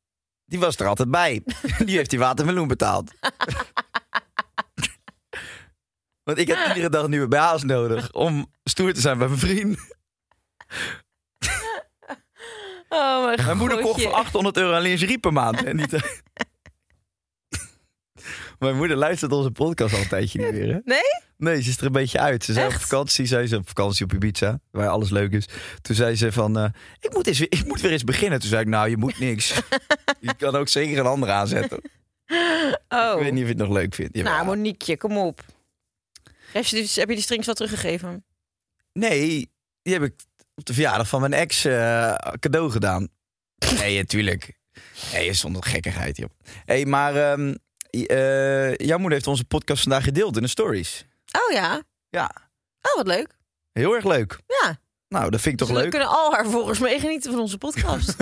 Speaker 6: Die was er altijd
Speaker 5: [laughs]
Speaker 6: bij. Die heeft die watermeloen betaald. Want ik heb iedere dag nieuwe BH's nodig om stoer te zijn bij mijn vriend.
Speaker 5: Oh mijn,
Speaker 6: Mijn moeder kocht
Speaker 5: gootje.
Speaker 6: voor 800 euro aan lingerie per maand. En niet... [laughs] Mijn moeder luistert onze podcast al een tijdje niet meer. Hè?
Speaker 5: Nee?
Speaker 6: Nee, ze is er een beetje uit. Ze zei op
Speaker 5: Echt?
Speaker 6: vakantie, zei ze op vakantie op Ibiza, waar alles leuk is. Toen zei ze van, eh, ik, moet eens, ik moet weer eens beginnen. Toen zei ik, nou, je moet
Speaker 5: [laughs]
Speaker 6: niks. je kan ook zeker een ander aanzetten.
Speaker 5: Oh,
Speaker 6: Ik weet niet of je het nog leuk vindt. Jawel.
Speaker 5: nou Moniqueje, kom dus- op. Heb je, die- heb je die strings wel teruggegeven?
Speaker 6: Nee, die heb ik op de verjaardag van mijn ex eh, cadeau gedaan. Nee, natuurlijk. Nee, zonder gekkigheid, joh. hey, maar ehm, i- eh, jouw moeder heeft onze podcast vandaag gedeeld in de stories.
Speaker 5: Oh ja.
Speaker 6: Ja,
Speaker 5: Oh, wat leuk.
Speaker 6: heel erg leuk.
Speaker 5: Ja.
Speaker 6: Nou, dat vind ik toch
Speaker 5: Dus we
Speaker 6: leuk.
Speaker 5: kunnen al haar volgens mij genieten van onze
Speaker 6: [laughs]
Speaker 5: podcast.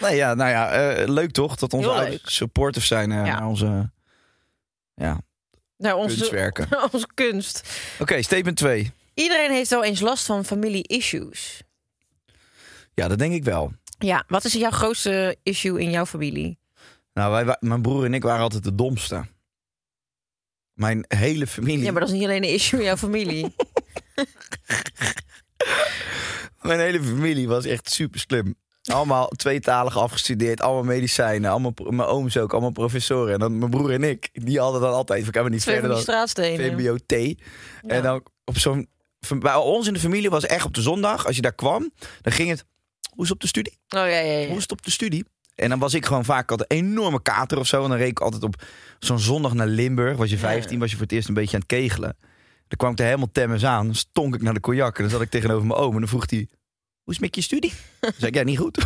Speaker 6: Nee, ja, nou ja, eh, leuk toch dat onze
Speaker 5: Heel
Speaker 6: ouders supportive zijn eh,
Speaker 5: Ja.
Speaker 6: naar onze ja,
Speaker 5: Naar onze,
Speaker 6: kunstwerken.
Speaker 5: onze [laughs] kunst.
Speaker 6: Oké, statement 2.
Speaker 5: Iedereen heeft wel eens last van familie-issues.
Speaker 6: Ja, dat denk ik wel.
Speaker 5: Ja, wat is jouw grootste issue in jouw familie?
Speaker 6: Nou, wij, wa- mijn broer en ik waren altijd de domste. Mijn hele familie.
Speaker 5: Ja, maar dat is niet alleen een issue in jouw
Speaker 6: [laughs]
Speaker 5: familie.
Speaker 6: Mijn hele familie was echt super slim. Allemaal tweetalig afgestudeerd, allemaal medicijnen, allemaal pro- mijn ooms ook, allemaal professoren. En dan mijn broer en ik, die hadden dan altijd, we kwamen niet
Speaker 5: Twee van
Speaker 6: verder
Speaker 5: die
Speaker 6: dan
Speaker 5: straatstenen.
Speaker 6: VBO-T. En dan op zo'n. van- Bij ons in de familie was echt op de zondag, als je daar kwam, dan ging het. Hoe is het op de studie?
Speaker 5: Oh ja, ja, ja.
Speaker 6: Hoe is het op de studie? En dan was ik gewoon vaak altijd een enorme kater of zo. En dan reed ik altijd op zo'n zondag naar Limburg. Was je 15, was je voor het eerst een beetje aan het kegelen. Dan kwam ik er helemaal temmers aan. Dan stonk ik naar de cognac. En dan zat ik tegenover mijn oom. En dan vroeg hij, hoe is het met je studie? Toen zei ik, ja, niet goed.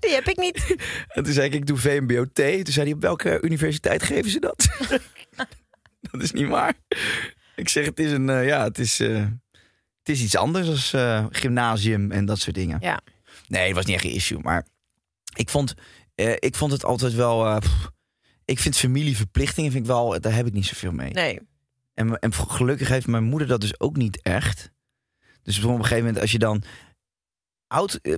Speaker 5: Die heb ik niet.
Speaker 6: En toen zei ik, ik doe VMBO-T. Toen zei hij, op welke universiteit geven ze dat? [laughs] dat is niet waar. Ik zeg, het is, een, eh, ja, het is, eh, het is iets anders als eh, gymnasium en dat soort dingen.
Speaker 5: Ja.
Speaker 6: Nee, het was niet echt een issue. Maar ik vond, eh, ik vond het altijd wel... eh, pff, ik vind familieverplichtingen, vind ik wel, daar heb ik niet zoveel mee.
Speaker 5: Nee.
Speaker 6: En, en gelukkig heeft mijn moeder dat dus ook niet echt. Dus op een gegeven moment, als je dan oud, eh,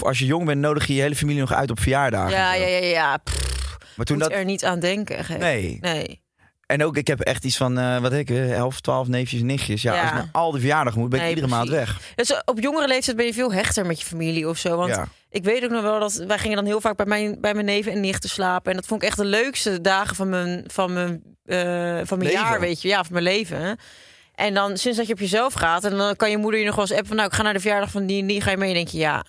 Speaker 6: als je jong bent, nodig je je hele familie nog uit op verjaardagen.
Speaker 5: Ja,
Speaker 6: en Ah, zo.
Speaker 5: ja, ja, ja. Pff,
Speaker 6: Maar toen
Speaker 5: moet
Speaker 6: dat.
Speaker 5: er niet aan denken. gek.
Speaker 6: Nee.
Speaker 5: Nee.
Speaker 6: En ook, ik heb echt iets van, eh, wat heb ik, eh, 11, 12 neefjes en nichtjes. Ja,
Speaker 5: Ja.
Speaker 6: als ik naar al die verjaardag moet, ben ik
Speaker 5: Nee,
Speaker 6: iedere maand
Speaker 5: precies.
Speaker 6: weg.
Speaker 5: Dus op jongere leeftijd ben je veel hechter met je familie of zo. Want
Speaker 6: Ja.
Speaker 5: ik weet ook nog wel dat wij gingen dan heel vaak bij mijn, bij mijn neven en nichten slapen. En dat vond ik echt de leukste dagen van mijn, van mijn, eh, van mijn
Speaker 6: Leven.
Speaker 5: jaar, weet je. Ja, van mijn leven. En dan sinds dat je op jezelf gaat en dan kan je moeder je nog wel eens appen van... nou, ik ga naar de verjaardag van die en die, ga je mee? En denk je, ja,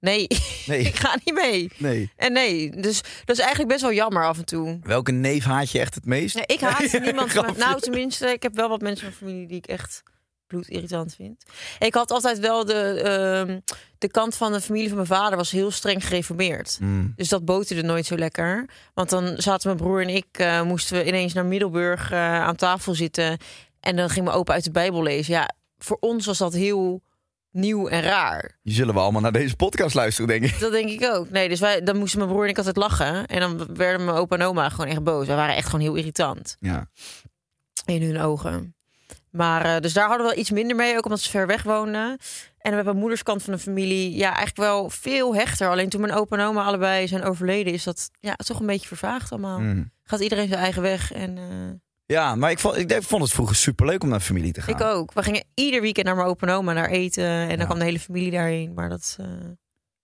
Speaker 5: nee,
Speaker 6: Nee,
Speaker 5: [laughs] ik ga niet mee.
Speaker 6: nee.
Speaker 5: En nee, dus dat is eigenlijk best wel jammer af en toe.
Speaker 6: Welke neef haat je echt het meest?
Speaker 5: Nee, ik [laughs] haat niemand. Van,
Speaker 6: grapje.
Speaker 5: nou, tenminste, ik heb wel wat mensen van familie die ik echt bloedirritant vind. Ik had altijd wel de, ehm, de kant van de familie van mijn vader was heel streng gereformeerd.
Speaker 6: Mm.
Speaker 5: Dus dat boterde nooit zo lekker. Want dan zaten mijn broer en ik, eh, moesten we ineens naar Middelburg eh, aan tafel zitten. En dan ging mijn opa uit de Bijbel lezen. Ja, voor ons was dat heel nieuw en raar.
Speaker 6: Die zullen we allemaal naar deze podcast luisteren, denk ik.
Speaker 5: Dat denk ik ook. Nee, dus wij, dan moesten mijn broer en ik altijd lachen. En dan werden mijn opa en oma gewoon echt boos. Wij waren echt gewoon heel irritant
Speaker 6: Ja.
Speaker 5: in hun ogen. Maar eh, dus daar hadden we wel iets minder mee, ook omdat ze ver weg woonden. En met mijn moeders kant van de familie, ja, eigenlijk wel veel hechter. Alleen toen mijn opa en oma allebei zijn overleden, is dat ja, toch een beetje vervaagd allemaal.
Speaker 6: Mm.
Speaker 5: Gaat iedereen zijn eigen weg. En eh,
Speaker 6: Ja, maar ik vond, ik, ik vond het vroeger superleuk om naar familie te gaan.
Speaker 5: ik ook. We gingen ieder weekend naar mijn opa en oma naar eten. En
Speaker 6: Ja.
Speaker 5: dan kwam de hele familie daarheen. Maar dat. eh,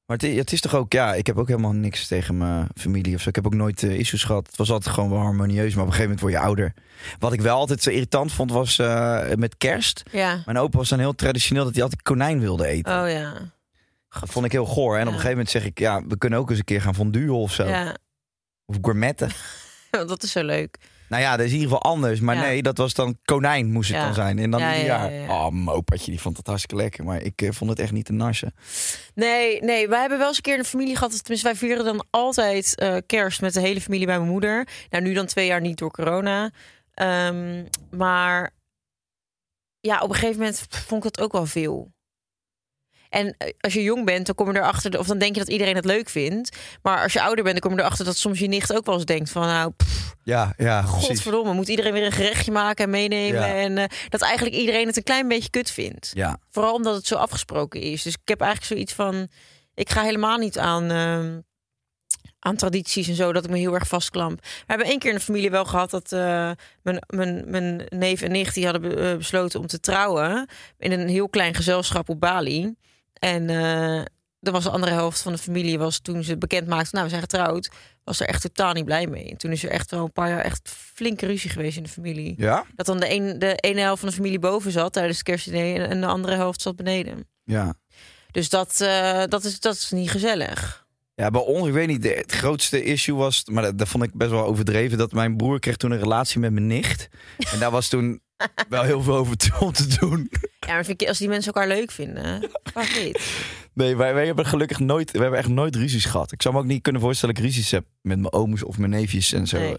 Speaker 6: Maar het is, het is toch ook, ja, ik heb ook helemaal niks tegen mijn familie of zo. Ik heb ook nooit eh, issues gehad. Het was altijd gewoon wel harmonieus, maar op een gegeven moment word je ouder. Wat ik wel altijd zo irritant vond was eh, met kerst.
Speaker 5: ja.
Speaker 6: Mijn opa was dan heel traditioneel dat hij altijd konijn wilde eten.
Speaker 5: Oh ja.
Speaker 6: Dat vond ik heel goor. En op een
Speaker 5: Ja.
Speaker 6: gegeven moment zeg ik, ja, we kunnen ook eens een keer gaan fonduen of zo.
Speaker 5: Ja, [laughs]
Speaker 6: Of gourmetten.
Speaker 5: dat is zo leuk.
Speaker 6: Nou ja, dat is in ieder geval anders. Maar
Speaker 5: Ja.
Speaker 6: nee, dat was dan konijn moest het
Speaker 5: Ja.
Speaker 6: dan zijn. En dan
Speaker 5: Ja,
Speaker 6: ieder
Speaker 5: ja,
Speaker 6: jaar.
Speaker 5: ja, ja.
Speaker 6: Oh, mijn opaatje, die vond het hartstikke lekker. Maar ik eh, vond het echt niet te nassen.
Speaker 5: Nee, nee, wij hebben wel eens een keer een familie gehad. Tenminste, wij vieren dan altijd eh, kerst met de hele familie bij mijn moeder. Nou, nu dan twee jaar niet door corona. Ehm, maar ja, op een gegeven moment vond ik dat ook wel veel. En eh, als je jong bent, dan kom je erachter, of dan denk je dat iedereen het leuk vindt. Maar als je ouder bent, dan kom je erachter dat soms je nicht ook wel eens denkt van, nou, pff,
Speaker 6: Ja, ja, precies.
Speaker 5: godverdomme, moet iedereen weer een gerechtje maken en meenemen.
Speaker 6: Ja.
Speaker 5: En eh, dat eigenlijk iedereen het een klein beetje kut vindt.
Speaker 6: Ja,
Speaker 5: Vooral omdat het zo afgesproken is. Dus ik heb eigenlijk zoiets van... Ik ga helemaal niet aan, ehm, aan tradities en zo, dat ik me heel erg vastklamp. We hebben één keer in de familie wel gehad dat eh, mijn, mijn, mijn neef en nicht... die hadden be- eh, besloten om te trouwen in een heel klein gezelschap op Bali. En eh er was de andere helft van de familie was toen ze bekend maakten... nou, we zijn getrouwd, was er echt totaal niet blij mee. En toen is er echt wel een paar jaar echt flinke ruzie geweest in de familie.
Speaker 6: ja,
Speaker 5: Dat dan de, een, de ene helft van de familie boven zat tijdens het kerstdiner en, en de andere helft zat beneden.
Speaker 6: ja.
Speaker 5: Dus dat, eh, dat, is, dat is niet gezellig.
Speaker 6: Ja, bij ons, ik weet niet, de- het grootste issue
Speaker 5: [laughs]
Speaker 6: was, maar dat, dat vond ik best wel overdreven, dat mijn broer kreeg toen een relatie met mijn nicht. En daar was toen wel heel veel over te- om te doen.
Speaker 9: Ja, maar vind ik, als die mensen elkaar leuk vinden, waarom niet?
Speaker 6: Nee, wij, wij hebben gelukkig nooit, we hebben echt nooit ruzies gehad. Ik zou me ook niet kunnen voorstellen dat ik ruzies heb met mijn ooms of mijn neefjes en zo.
Speaker 9: Nee.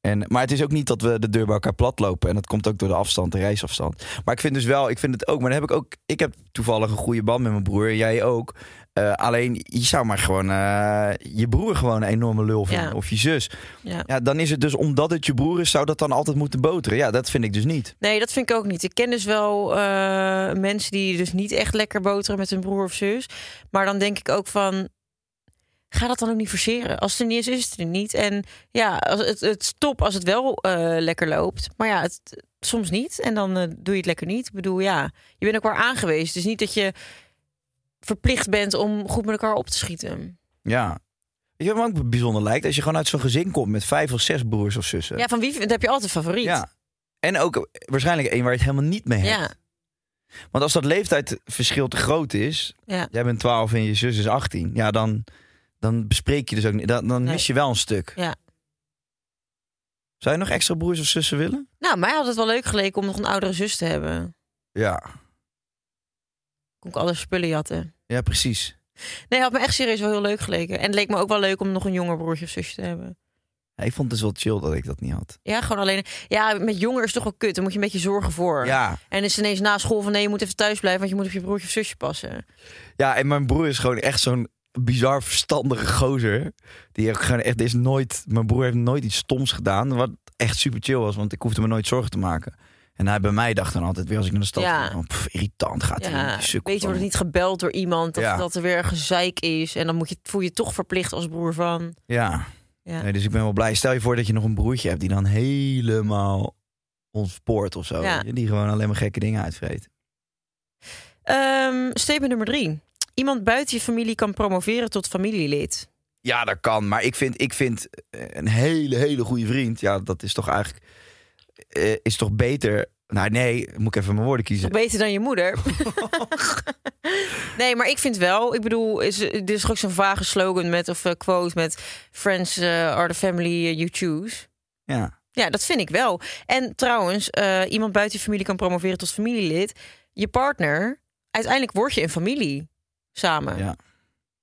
Speaker 6: En, maar het is ook niet dat we de deur bij elkaar plat lopen. En dat komt ook door de afstand, de reisafstand. Maar ik vind dus wel, ik vind het ook, maar dan heb ik ook, ik heb toevallig een goede band met mijn broer, jij ook. Eh, alleen, je zou maar gewoon eh, je broer gewoon een enorme lul vinden.
Speaker 9: Ja.
Speaker 6: Of je zus.
Speaker 9: Ja.
Speaker 6: Ja, dan is het dus omdat het je broer is, zou dat dan altijd moeten boteren. Ja, dat vind ik dus niet.
Speaker 9: Nee, dat vind ik ook niet. Ik ken dus wel eh, mensen die dus niet echt lekker boteren met hun broer of zus. Maar dan denk ik ook van, ga dat dan ook niet verseren. Als het er niet is, is het er niet. En ja, als het, het is top als het wel eh, lekker loopt. Maar ja, het, soms niet. En dan eh, doe je het lekker niet. Ik bedoel, ja, je bent elkaar aangewezen. Dus niet dat je verplicht bent om goed met elkaar op te schieten.
Speaker 6: Ja. Weet je wat me ook bijzonder lijkt? Als je gewoon uit zo'n gezin komt met vijf of zes broers of zussen.
Speaker 9: Ja, van wie vind- heb je altijd favoriet?
Speaker 6: Ja. En ook waarschijnlijk één waar je het helemaal niet mee hebt.
Speaker 9: ja.
Speaker 6: Want als dat leeftijdsverschil te groot is,
Speaker 9: Ja.
Speaker 6: jij bent 12 en je zus is 18, ja, dan, dan bespreek je dus ook niet. Dan, dan
Speaker 9: Nee.
Speaker 6: mis je wel een stuk.
Speaker 9: Ja.
Speaker 6: Zou je nog extra broers of zussen willen?
Speaker 9: Nou, mij had het wel leuk geleken om nog een oudere zus te hebben.
Speaker 6: Ja,
Speaker 9: Kon ik alle spullen jatten.
Speaker 6: ja precies.
Speaker 9: Nee, had me echt serieus wel heel leuk geleken. En het leek me ook wel leuk om nog een jonger broertje of zusje te hebben.
Speaker 6: Ja, ik vond het dus wel chill dat ik dat niet had.
Speaker 9: Ja, gewoon alleen... Ja, met jonger is het toch wel kut. Dan moet je een beetje zorgen voor.
Speaker 6: Ja,
Speaker 9: En is het ineens na school van... Nee, je moet even thuis blijven, want je moet op je broertje of zusje passen.
Speaker 6: ja, en mijn broer is gewoon echt zo'n bizar verstandige gozer. Die heeft gewoon echt, er is nooit, mijn broer heeft nooit iets stoms gedaan. Wat echt super chill was, want ik hoefde me nooit zorgen te maken. En hij bij mij dacht dan altijd weer als ik naar de stad
Speaker 9: Ja.
Speaker 6: ging, gewoon, pff, irritant gaat hij.
Speaker 9: Ja,
Speaker 6: die sukkel
Speaker 9: weet je, wordt
Speaker 6: van.
Speaker 9: niet gebeld door iemand. Dat,
Speaker 6: Ja.
Speaker 9: dat er weer een gezeik is. En dan moet je, voel je je toch verplicht als broer van...
Speaker 6: Ja.
Speaker 9: Ja.
Speaker 6: Nee, dus ik ben wel blij. Stel je voor dat je nog een broertje hebt die dan helemaal ontspoort of zo.
Speaker 9: Ja.
Speaker 6: weet je, Die gewoon alleen maar gekke dingen uitvreet.
Speaker 9: Ehm statement nummer drie. Iemand buiten je familie kan promoveren tot familielid.
Speaker 6: Ja, dat kan. Maar ik vind, ik vind eh, een hele, hele goede vriend. Ja, dat is toch eigenlijk. eh, is toch beter. Nou, nee, moet ik even mijn woorden kiezen.
Speaker 9: Nog beter dan je moeder. nee, maar ik vind wel. Ik bedoel, is, er is toch ook zo'n vage slogan met of eh, quote met Friends eh, are the family you choose.
Speaker 6: Ja.
Speaker 9: Ja, dat vind ik wel. En trouwens, eh, iemand buiten je familie kan promoveren tot familielid. Je partner, uiteindelijk word je een familie samen.
Speaker 6: ja,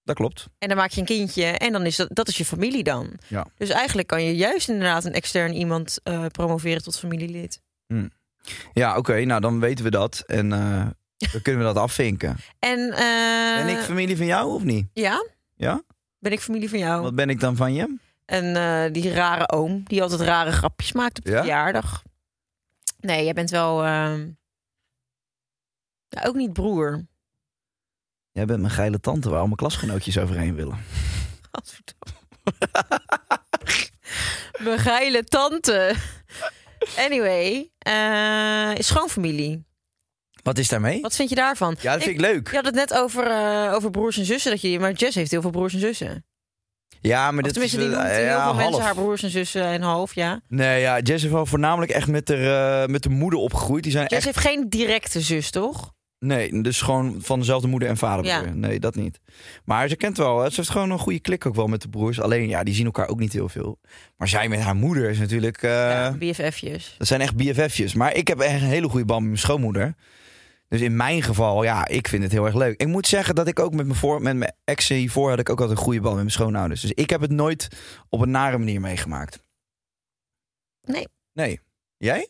Speaker 6: dat klopt.
Speaker 9: En dan maak je een kindje en dan is dat, dat is je familie dan.
Speaker 6: Ja.
Speaker 9: Dus eigenlijk kan je juist inderdaad een extern iemand eh, promoveren tot familielid.
Speaker 6: Ja, oké. nou, dan weten we dat. En eh, dan kunnen we dat
Speaker 9: [laughs]
Speaker 6: afvinken.
Speaker 9: En, eh,
Speaker 6: Ben ik familie van jou of niet?
Speaker 9: Ja?
Speaker 6: Ja?
Speaker 9: Ben ik familie van jou?
Speaker 6: Wat ben ik dan van je?
Speaker 9: En eh, die rare oom, die altijd rare grapjes maakt op de
Speaker 6: Ja?
Speaker 9: verjaardag. Nee, jij bent wel... ehm, ja, ook niet broer.
Speaker 6: Jij bent mijn geile tante waar al mijn klasgenootjes overheen willen.
Speaker 9: Gadverdamme. Mijn geile tante. [laughs] Anyway, eh, schoonfamilie.
Speaker 6: Wat is daarmee?
Speaker 9: Wat vind je daarvan?
Speaker 6: Ja, dat vind ik leuk.
Speaker 9: Je had het net over, eh, over broers en zussen. Dat je, maar Jess heeft heel veel broers en zussen.
Speaker 6: Ja, maar
Speaker 9: Of
Speaker 6: dit is
Speaker 9: tenminste, die noemt
Speaker 6: eh,
Speaker 9: heel
Speaker 6: ja,
Speaker 9: veel mensen
Speaker 6: half.
Speaker 9: haar broers en zussen en half, ja.
Speaker 6: Nee, ja, Jess heeft wel voornamelijk echt met de, met de moeder opgegroeid. Die zijn
Speaker 9: Jess
Speaker 6: echt.
Speaker 9: heeft geen directe zus, toch?
Speaker 6: Nee, dus gewoon van dezelfde moeder en vader.
Speaker 9: Ja.
Speaker 6: bedoel je? Nee, dat niet. Maar ze kent wel. hè, Ze heeft gewoon een goede klik ook wel met de broers. Alleen ja, die zien elkaar ook niet heel veel. Maar zij met haar moeder is natuurlijk. eh,
Speaker 9: ja, BFF'jes.
Speaker 6: Dat zijn echt BFF'jes. Maar ik heb echt een hele goede band met mijn schoonmoeder. Dus in mijn geval, ja, ik vind het heel erg leuk. Ik moet zeggen dat ik ook met mijn, voor, met mijn ex hiervoor had ik ook altijd een goede band met mijn schoonouders. Dus ik heb het nooit op een nare manier meegemaakt.
Speaker 9: Nee.
Speaker 6: Nee. Jij?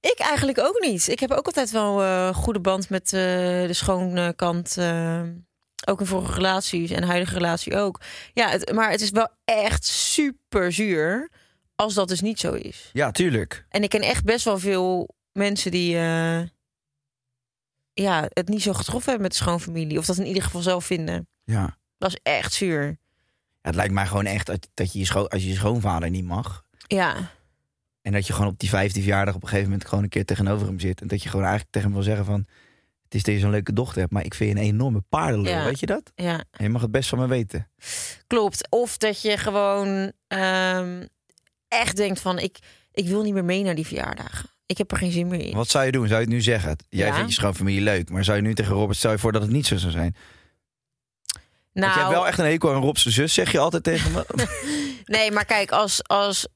Speaker 9: Ik eigenlijk ook niet. Ik heb ook altijd wel eh goede band met eh, de schone kant. eh, ook in vorige relaties en huidige relatie ook. Ja, het, maar het is wel echt super zuur als dat dus niet zo is.
Speaker 6: Ja, tuurlijk.
Speaker 9: En ik ken echt best wel veel mensen die eh, ja, het niet zo getroffen hebben met de schoonfamilie. Of dat in ieder geval zelf vinden.
Speaker 6: Ja. Ja,
Speaker 9: Dat is echt zuur.
Speaker 6: het lijkt mij gewoon echt dat- dat je je, scho- als je je schoonvader niet mag.
Speaker 9: Ja,
Speaker 6: En dat je gewoon op die vijfde verjaardag op een gegeven moment gewoon een keer tegenover hem zit. En dat je gewoon eigenlijk tegen hem wil zeggen van... Het is dat je zo'n leuke dochter hebt, maar ik vind je een enorme paardenlul.
Speaker 9: Ja.
Speaker 6: Weet je dat?
Speaker 9: ja,
Speaker 6: En je mag het best van me weten.
Speaker 9: klopt. Of dat je gewoon ehm, echt denkt van... Ik, ik wil niet meer mee naar die verjaardagen. Ik heb er geen zin meer in.
Speaker 6: Wat zou je doen? Zou je het nu zeggen? Jij
Speaker 9: Ja.
Speaker 6: vindt je schoonfamilie leuk, maar zou je nu tegen Robert, stel je voor dat het niet zo zou zijn? Want
Speaker 9: Nou, [laughs]
Speaker 6: je hebt wel echt een hekel aan Rob's zus, zeg je altijd tegen me.
Speaker 9: nee, maar kijk, als, als,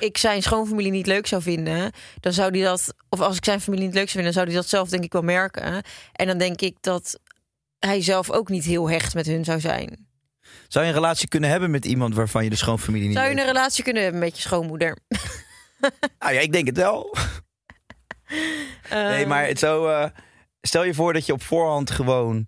Speaker 9: ik zijn schoonfamilie niet leuk zou vinden, dan zou die dat, of als ik zijn familie niet leuk zou vinden, dan zou die dat zelf denk ik wel merken. En dan denk ik dat hij zelf ook niet heel hecht met hun zou zijn.
Speaker 6: Zou je een relatie kunnen hebben met iemand waarvan je de schoonfamilie niet
Speaker 9: Zou je
Speaker 6: leuk
Speaker 9: een relatie kunnen hebben met je schoonmoeder?
Speaker 6: vindt? Nou ja, ik denk het wel. Nee,
Speaker 9: Ehm,
Speaker 6: maar het zou, eh, stel je voor dat je op voorhand gewoon...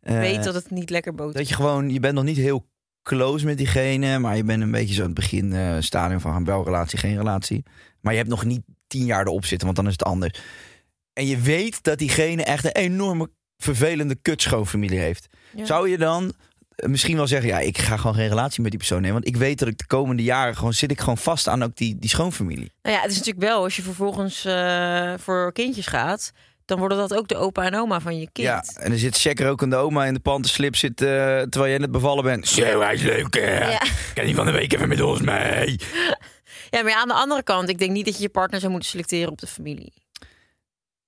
Speaker 6: eh,
Speaker 9: weet dat het niet lekker boter
Speaker 6: Dat je gewoon, je bent nog niet heel close met diegene, maar je bent een beetje zo aan het begin eh, stadium van wel relatie, geen relatie. Maar je hebt nog niet tien jaar erop zitten, want dan is het anders. En je weet dat diegene echt een enorme vervelende kutschoonfamilie heeft.
Speaker 9: Ja.
Speaker 6: Zou je dan eh, misschien wel zeggen, ja, ik ga gewoon geen relatie met die persoon nemen, want ik weet dat ik de komende jaren gewoon zit ik gewoon vast aan ook die, die schoonfamilie.
Speaker 9: Nou ja, het is natuurlijk wel, als je vervolgens eh, voor kindjes gaat, dan worden dat ook de opa en oma van je kind.
Speaker 6: Ja, en er zit checker ook de oma in de pantenslip zit eh, terwijl jij net bevallen bent. Zo, hij is leuk hè.
Speaker 9: Ja.
Speaker 6: Kan die van de week even met ons mee?
Speaker 9: Ja, maar ja, aan de andere kant, ik denk niet dat je je partner zou moeten selecteren op de familie.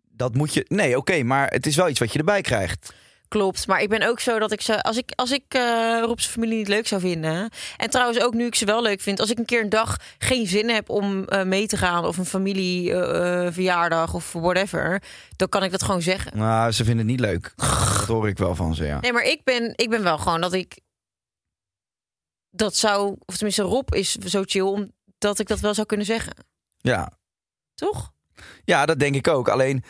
Speaker 6: dat moet je. Nee, oké, maar het is wel iets wat je erbij krijgt.
Speaker 9: Klopt, maar ik ben ook zo dat ik ze, als ik, als ik eh, Rob zijn familie niet leuk zou vinden. En trouwens ook nu ik ze wel leuk vind, als ik een keer een dag geen zin heb om eh, mee te gaan of een familieverjaardag verjaardag of whatever, dan kan ik dat gewoon zeggen.
Speaker 6: Nou, ze vinden het niet leuk. Dat hoor ik wel van ze, ja.
Speaker 9: Nee, maar ik ben, ik ben wel gewoon dat ik dat zou, of tenminste Rob is zo chill omdat ik dat wel zou kunnen zeggen,
Speaker 6: Ja,
Speaker 9: toch? [laughs]
Speaker 6: ja dat denk ik ook. Alleen,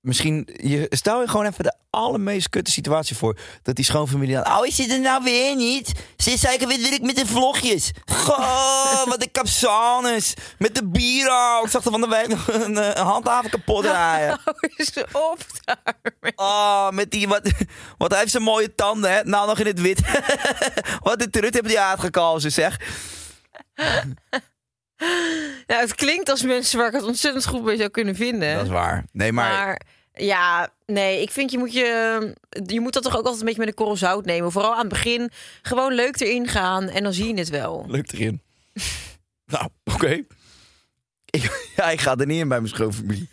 Speaker 6: misschien, je, stel je gewoon even de allermeest kutte situatie voor. Dat die schoonfamilie dan... Oh, is zit er nou weer niet? Ze is eigenlijk weer druk met de vlogjes. Goh, wat een capsanes. Met de bier. Ik zag er van de week nog een, eh, een handhaven kapot rijden.
Speaker 9: Hou eens op daarmee.
Speaker 6: Oh, met die, wat, wat hij heeft zijn mooie tanden, hè? Nou, nog in het wit. [laughs] wat een trut hebben die uitgekozen, zeg.
Speaker 9: Nou, het klinkt als mensen waar ik het ontzettend goed mee zou kunnen vinden.
Speaker 6: Dat is waar. Nee,
Speaker 9: Maar,
Speaker 6: maar,
Speaker 9: ja, nee, ik vind je moet je, je moet dat toch ook altijd een beetje met een korrel zout nemen. Vooral aan het begin gewoon leuk erin gaan en dan zie je het wel.
Speaker 6: [laughs] lukt erin. nou, oké. Ik, [laughs] ja, ik ga er niet in bij mijn
Speaker 9: [laughs]
Speaker 6: schoonfamilie.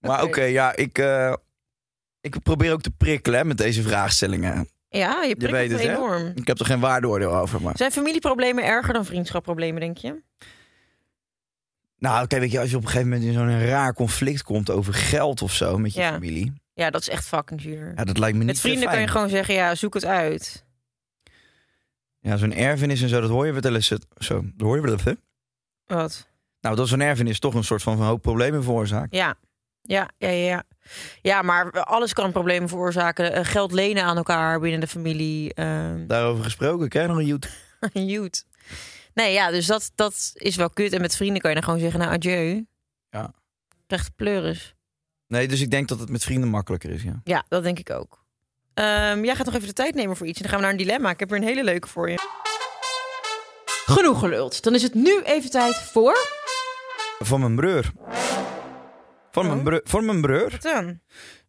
Speaker 6: maar oké,
Speaker 9: Oké.
Speaker 6: ja, ik, eh, ik probeer ook te prikkelen hè, met deze vraagstellingen.
Speaker 9: Ja, je prikkelt
Speaker 6: weet het, hè?
Speaker 9: enorm.
Speaker 6: Ik heb er geen waardeoordeel over, maar...
Speaker 9: Zijn familieproblemen erger dan vriendschapproblemen, denk je?
Speaker 6: Nou, oké, weet je, als je op een gegeven moment in zo'n raar conflict komt over geld of zo met je
Speaker 9: Ja.
Speaker 6: familie...
Speaker 9: Ja, dat is echt fucking duur.
Speaker 6: Ja, dat lijkt me niet
Speaker 9: Met vrienden
Speaker 6: zo
Speaker 9: kan
Speaker 6: fijn.
Speaker 9: je gewoon zeggen, ja, zoek het uit.
Speaker 6: Ja, zo'n erfenis en zo, dat hoor je wel eens. Zo, dat hoor je wel even.
Speaker 9: Wat?
Speaker 6: Nou, dat zo'n erfenis toch een soort van, van hoop problemen veroorzaakt.
Speaker 9: Ja. Ja, ja, ja, ja. Ja, maar alles kan problemen veroorzaken. Eh, Geld lenen aan elkaar binnen de familie. ehm
Speaker 6: Daarover gesproken, krijg je nog een YouTube.
Speaker 9: [laughs] Jut. Nee, ja, dus dat, dat is wel kut. En met vrienden kan je dan gewoon zeggen, nou, adieu.
Speaker 6: Ja.
Speaker 9: Krijg de pleuris.
Speaker 6: Nee, dus ik denk dat het met vrienden makkelijker is, ja.
Speaker 9: Ja, dat denk ik ook. Ehm, jij gaat nog even de tijd nemen voor iets. En dan gaan we naar een dilemma. Ik heb er een hele leuke voor je. Genoeg geluld. Dan is het nu even tijd voor...
Speaker 6: Van mijn broer. Van mijn,
Speaker 9: Oh.
Speaker 6: broer, van mijn broer.
Speaker 9: Wat dan?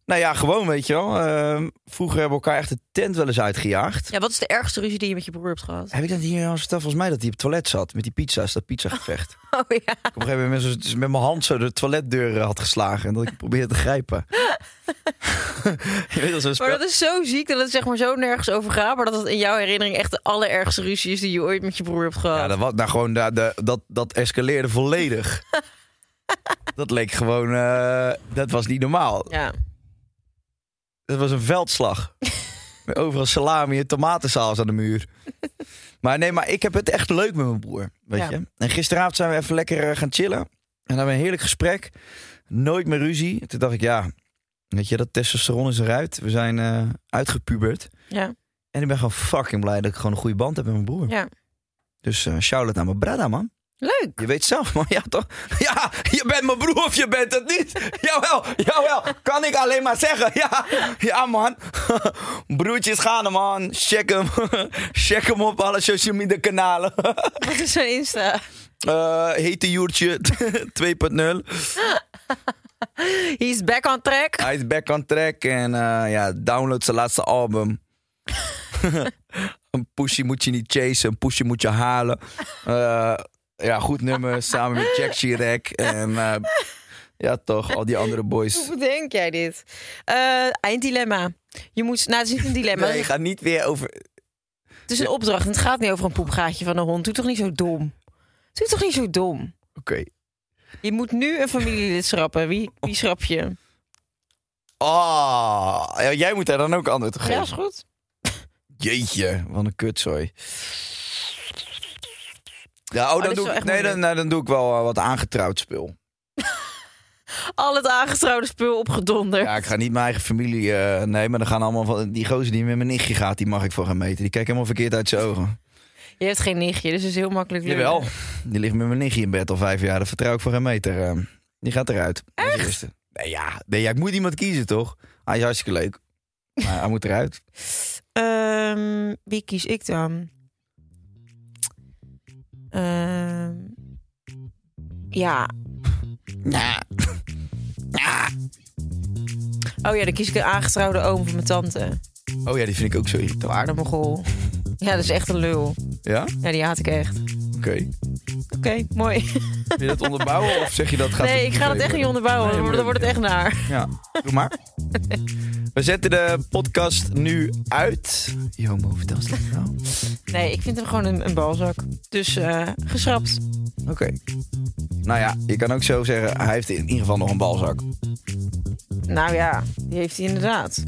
Speaker 6: Nou ja, gewoon, weet je wel. ehm, vroeger hebben we elkaar echt de tent wel eens uitgejaagd.
Speaker 9: Ja, wat is de ergste ruzie die je met je broer hebt gehad? [laughs]
Speaker 6: Heb ik dat hier al verteld? Volgens mij dat hij op het toilet zat met die pizza's, dat
Speaker 9: [laughs]
Speaker 6: pizzagevecht.
Speaker 9: Oh ja.
Speaker 6: Ik op een gegeven moment met z'n- met mijn hand zo de toiletdeur eh, had geslagen en dat ik hem probeerde te
Speaker 9: [laughs]
Speaker 6: grijpen. je weet wel, zo'n spel.
Speaker 9: Maar dat is zo ziek dat het zeg maar zo nergens over gaat. Maar dat het in jouw herinnering echt de allerergste ruzie is die je ooit met je broer hebt gehad.
Speaker 6: Ja, dat, was, nou, gewoon, da- da- dat, dat escaleerde
Speaker 9: [laughs]
Speaker 6: volledig. dat leek gewoon... eh, dat was niet normaal.
Speaker 9: ja.
Speaker 6: Dat was een veldslag. Met overal salami en tomatensaus aan de muur. Maar nee, maar ik heb het echt leuk met mijn broer. Weet
Speaker 9: Ja.
Speaker 6: je? En gisteravond zijn we even lekker eh, gaan chillen. En dan hebben we een heerlijk gesprek. Nooit meer ruzie. Toen dacht ik, ja... Weet je, dat testosteron is eruit. We zijn eh, uitgepubert.
Speaker 9: Ja.
Speaker 6: En ik ben gewoon fucking blij dat ik gewoon een goede band heb met mijn broer.
Speaker 9: Ja. [laughs]
Speaker 6: Dus eh shout-out aan mijn brada, man.
Speaker 9: Leuk.
Speaker 6: Je weet zelf, man. [laughs] Ja, toch? Ja, je bent mijn broer of je bent het niet. [laughs] Jawel, jawel. Kan ik alleen maar zeggen. [laughs] Ja, ja man. [laughs] Broertjes gaan, man. Check hem. [laughs] Check hem op alle social media kanalen. [laughs]
Speaker 9: Wat is zo'n Insta?
Speaker 6: Eh hete Joertje [laughs] 2.0.
Speaker 9: He's back on track.
Speaker 6: Hij is back on track. En eh, ja, download zijn laatste album. [laughs] een pushy moet je niet chasen. Een pushy moet je halen. Eh, ja, goed nummer. Samen met Jack Chirac. En eh, ja, toch. Al die andere boys.
Speaker 9: Hoe bedenk jij dit? Eh, einddilemma. Je moet, nou, het is niet een dilemma.
Speaker 6: Nee, ga niet weer over.
Speaker 9: Het is een opdracht. en Het gaat niet over een poepgaatje van een hond. Doe toch niet zo dom.
Speaker 5: Doe toch niet zo dom.
Speaker 6: Oké.
Speaker 5: Je moet nu een familielid schrappen. Wie, wie schrap je?
Speaker 6: Ah, ja, jij moet daar dan ook antwoord op
Speaker 5: Ja,
Speaker 6: geven.
Speaker 5: is goed.
Speaker 6: Jeetje, wat een kutzooi. Ja, oh,
Speaker 5: dit
Speaker 6: dan,
Speaker 5: is
Speaker 6: doe
Speaker 5: wel
Speaker 6: ik,
Speaker 5: echt
Speaker 6: nee, dan,
Speaker 5: moeilijk.
Speaker 6: nou, dan doe ik wel eh, wat aangetrouwd spul.
Speaker 5: Al het aangetrouwde spul opgedonderd.
Speaker 6: Ja, ik ga niet mijn eigen familie eh Nee, maar dan gaan allemaal van... Die gozer die met mijn nichtje gaat, die mag ik voor gaan meten. Die kijkt helemaal verkeerd uit zijn ogen.
Speaker 5: Je hebt geen nichtje, dus het is heel makkelijk lullen.
Speaker 6: Jawel, die ligt met mijn nichtje in bed al vijf jaar. Dat vertrouw ik voor geen meter. eh. die gaat eruit. Echt? Nee, ja. nee, ja, ik moet iemand kiezen, toch? Hij is hartstikke leuk. Maar hij moet
Speaker 5: [laughs]
Speaker 6: eruit.
Speaker 5: Ehm, wie kies ik dan? Ehm, ja. Oh ja, dan kies ik een aangetrouwde oom van mijn tante.
Speaker 6: Oh ja, die vind ik ook zo
Speaker 5: De
Speaker 6: irritant.
Speaker 5: waarde mogol. Ja, dat is echt een lul.
Speaker 6: Ja? Oké.
Speaker 5: Ja, die haat ik echt. Oké, mooi.
Speaker 6: Wil je dat onderbouwen of zeg je dat gaat
Speaker 5: Nee, ik ga dat echt niet onderbouwen,
Speaker 6: Nee,
Speaker 5: want
Speaker 6: maar
Speaker 5: dan wordt het echt naar.
Speaker 6: Ja, doe maar. We zetten de podcast nu
Speaker 5: [laughs]
Speaker 6: uit. Je homo, vertel eens lekker nou.
Speaker 5: Nee, ik vind hem gewoon een, een balzak. Dus eh, geschrapt.
Speaker 6: Oké. Nou ja, je kan ook zo zeggen, hij heeft in ieder geval nog een balzak.
Speaker 5: Nou ja, die heeft hij inderdaad.